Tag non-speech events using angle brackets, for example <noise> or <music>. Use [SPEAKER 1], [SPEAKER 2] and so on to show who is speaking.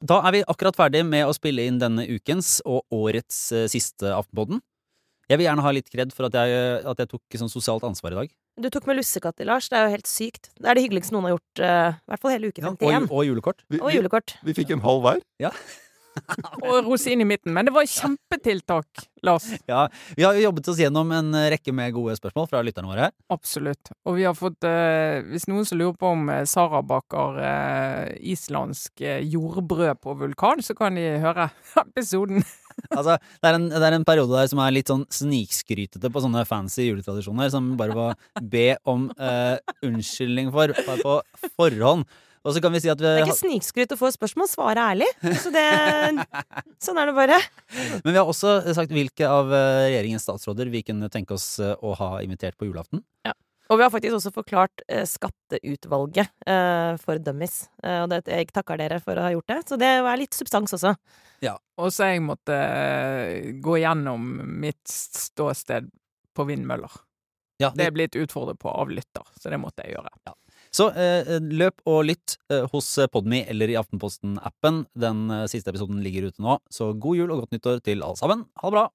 [SPEAKER 1] Da er vi akkurat ferdig med å spille inn denne ukens og årets eh, siste Aftenpodden. Jeg vil gjerne ha litt kred for at jeg, at jeg tok sånn sosialt ansvar i dag.
[SPEAKER 2] Du tok med lussekatter, Lars. Det er jo helt sykt. Det er det hyggeligste noen har gjort, eh, i hvert fall hele uke
[SPEAKER 1] Ja,
[SPEAKER 2] 51.
[SPEAKER 1] og, og julekort.
[SPEAKER 3] Vi,
[SPEAKER 2] og
[SPEAKER 3] vi,
[SPEAKER 2] julekort.
[SPEAKER 3] vi fikk en halv hver.
[SPEAKER 4] Og rosin i midten. Men det var kjempetiltak, Lars.
[SPEAKER 1] Vi har jo jobbet oss gjennom en eh, rekke med gode spørsmål fra lytterne våre.
[SPEAKER 4] Absolutt. Og vi har fått eh, Hvis noen som lurer på om eh, Sara baker eh, islandsk eh, jordbrød på vulkan, så kan de høre <laughs> episoden.
[SPEAKER 1] Altså, det, er en, det er en periode der som er litt sånn snikskrytete på sånne fancy juletradisjoner, som bare må be om eh, unnskyldning for på, på forhånd. Og så kan vi si at vi,
[SPEAKER 2] Det er ikke snikskryt å få spørsmål, svare ærlig. Så det, sånn er det bare.
[SPEAKER 1] Men vi har også sagt hvilke av eh, regjeringens statsråder vi kunne tenke oss eh, å ha invitert på julaften.
[SPEAKER 2] Og vi har faktisk også forklart eh, skatteutvalget eh, for dummies. Eh, og det, jeg takker dere for å ha gjort det. Så det er litt substans også.
[SPEAKER 4] Og så har jeg måtte eh, gå gjennom mitt ståsted på vindmøller.
[SPEAKER 1] Ja,
[SPEAKER 4] Det er blitt utfordret på av lytter, så det måtte jeg gjøre.
[SPEAKER 1] Så eh, løp og lytt eh, hos Podme eller i Aftenposten-appen. Den eh, siste episoden ligger ute nå. Så god jul og godt nyttår til alle sammen. Ha det bra!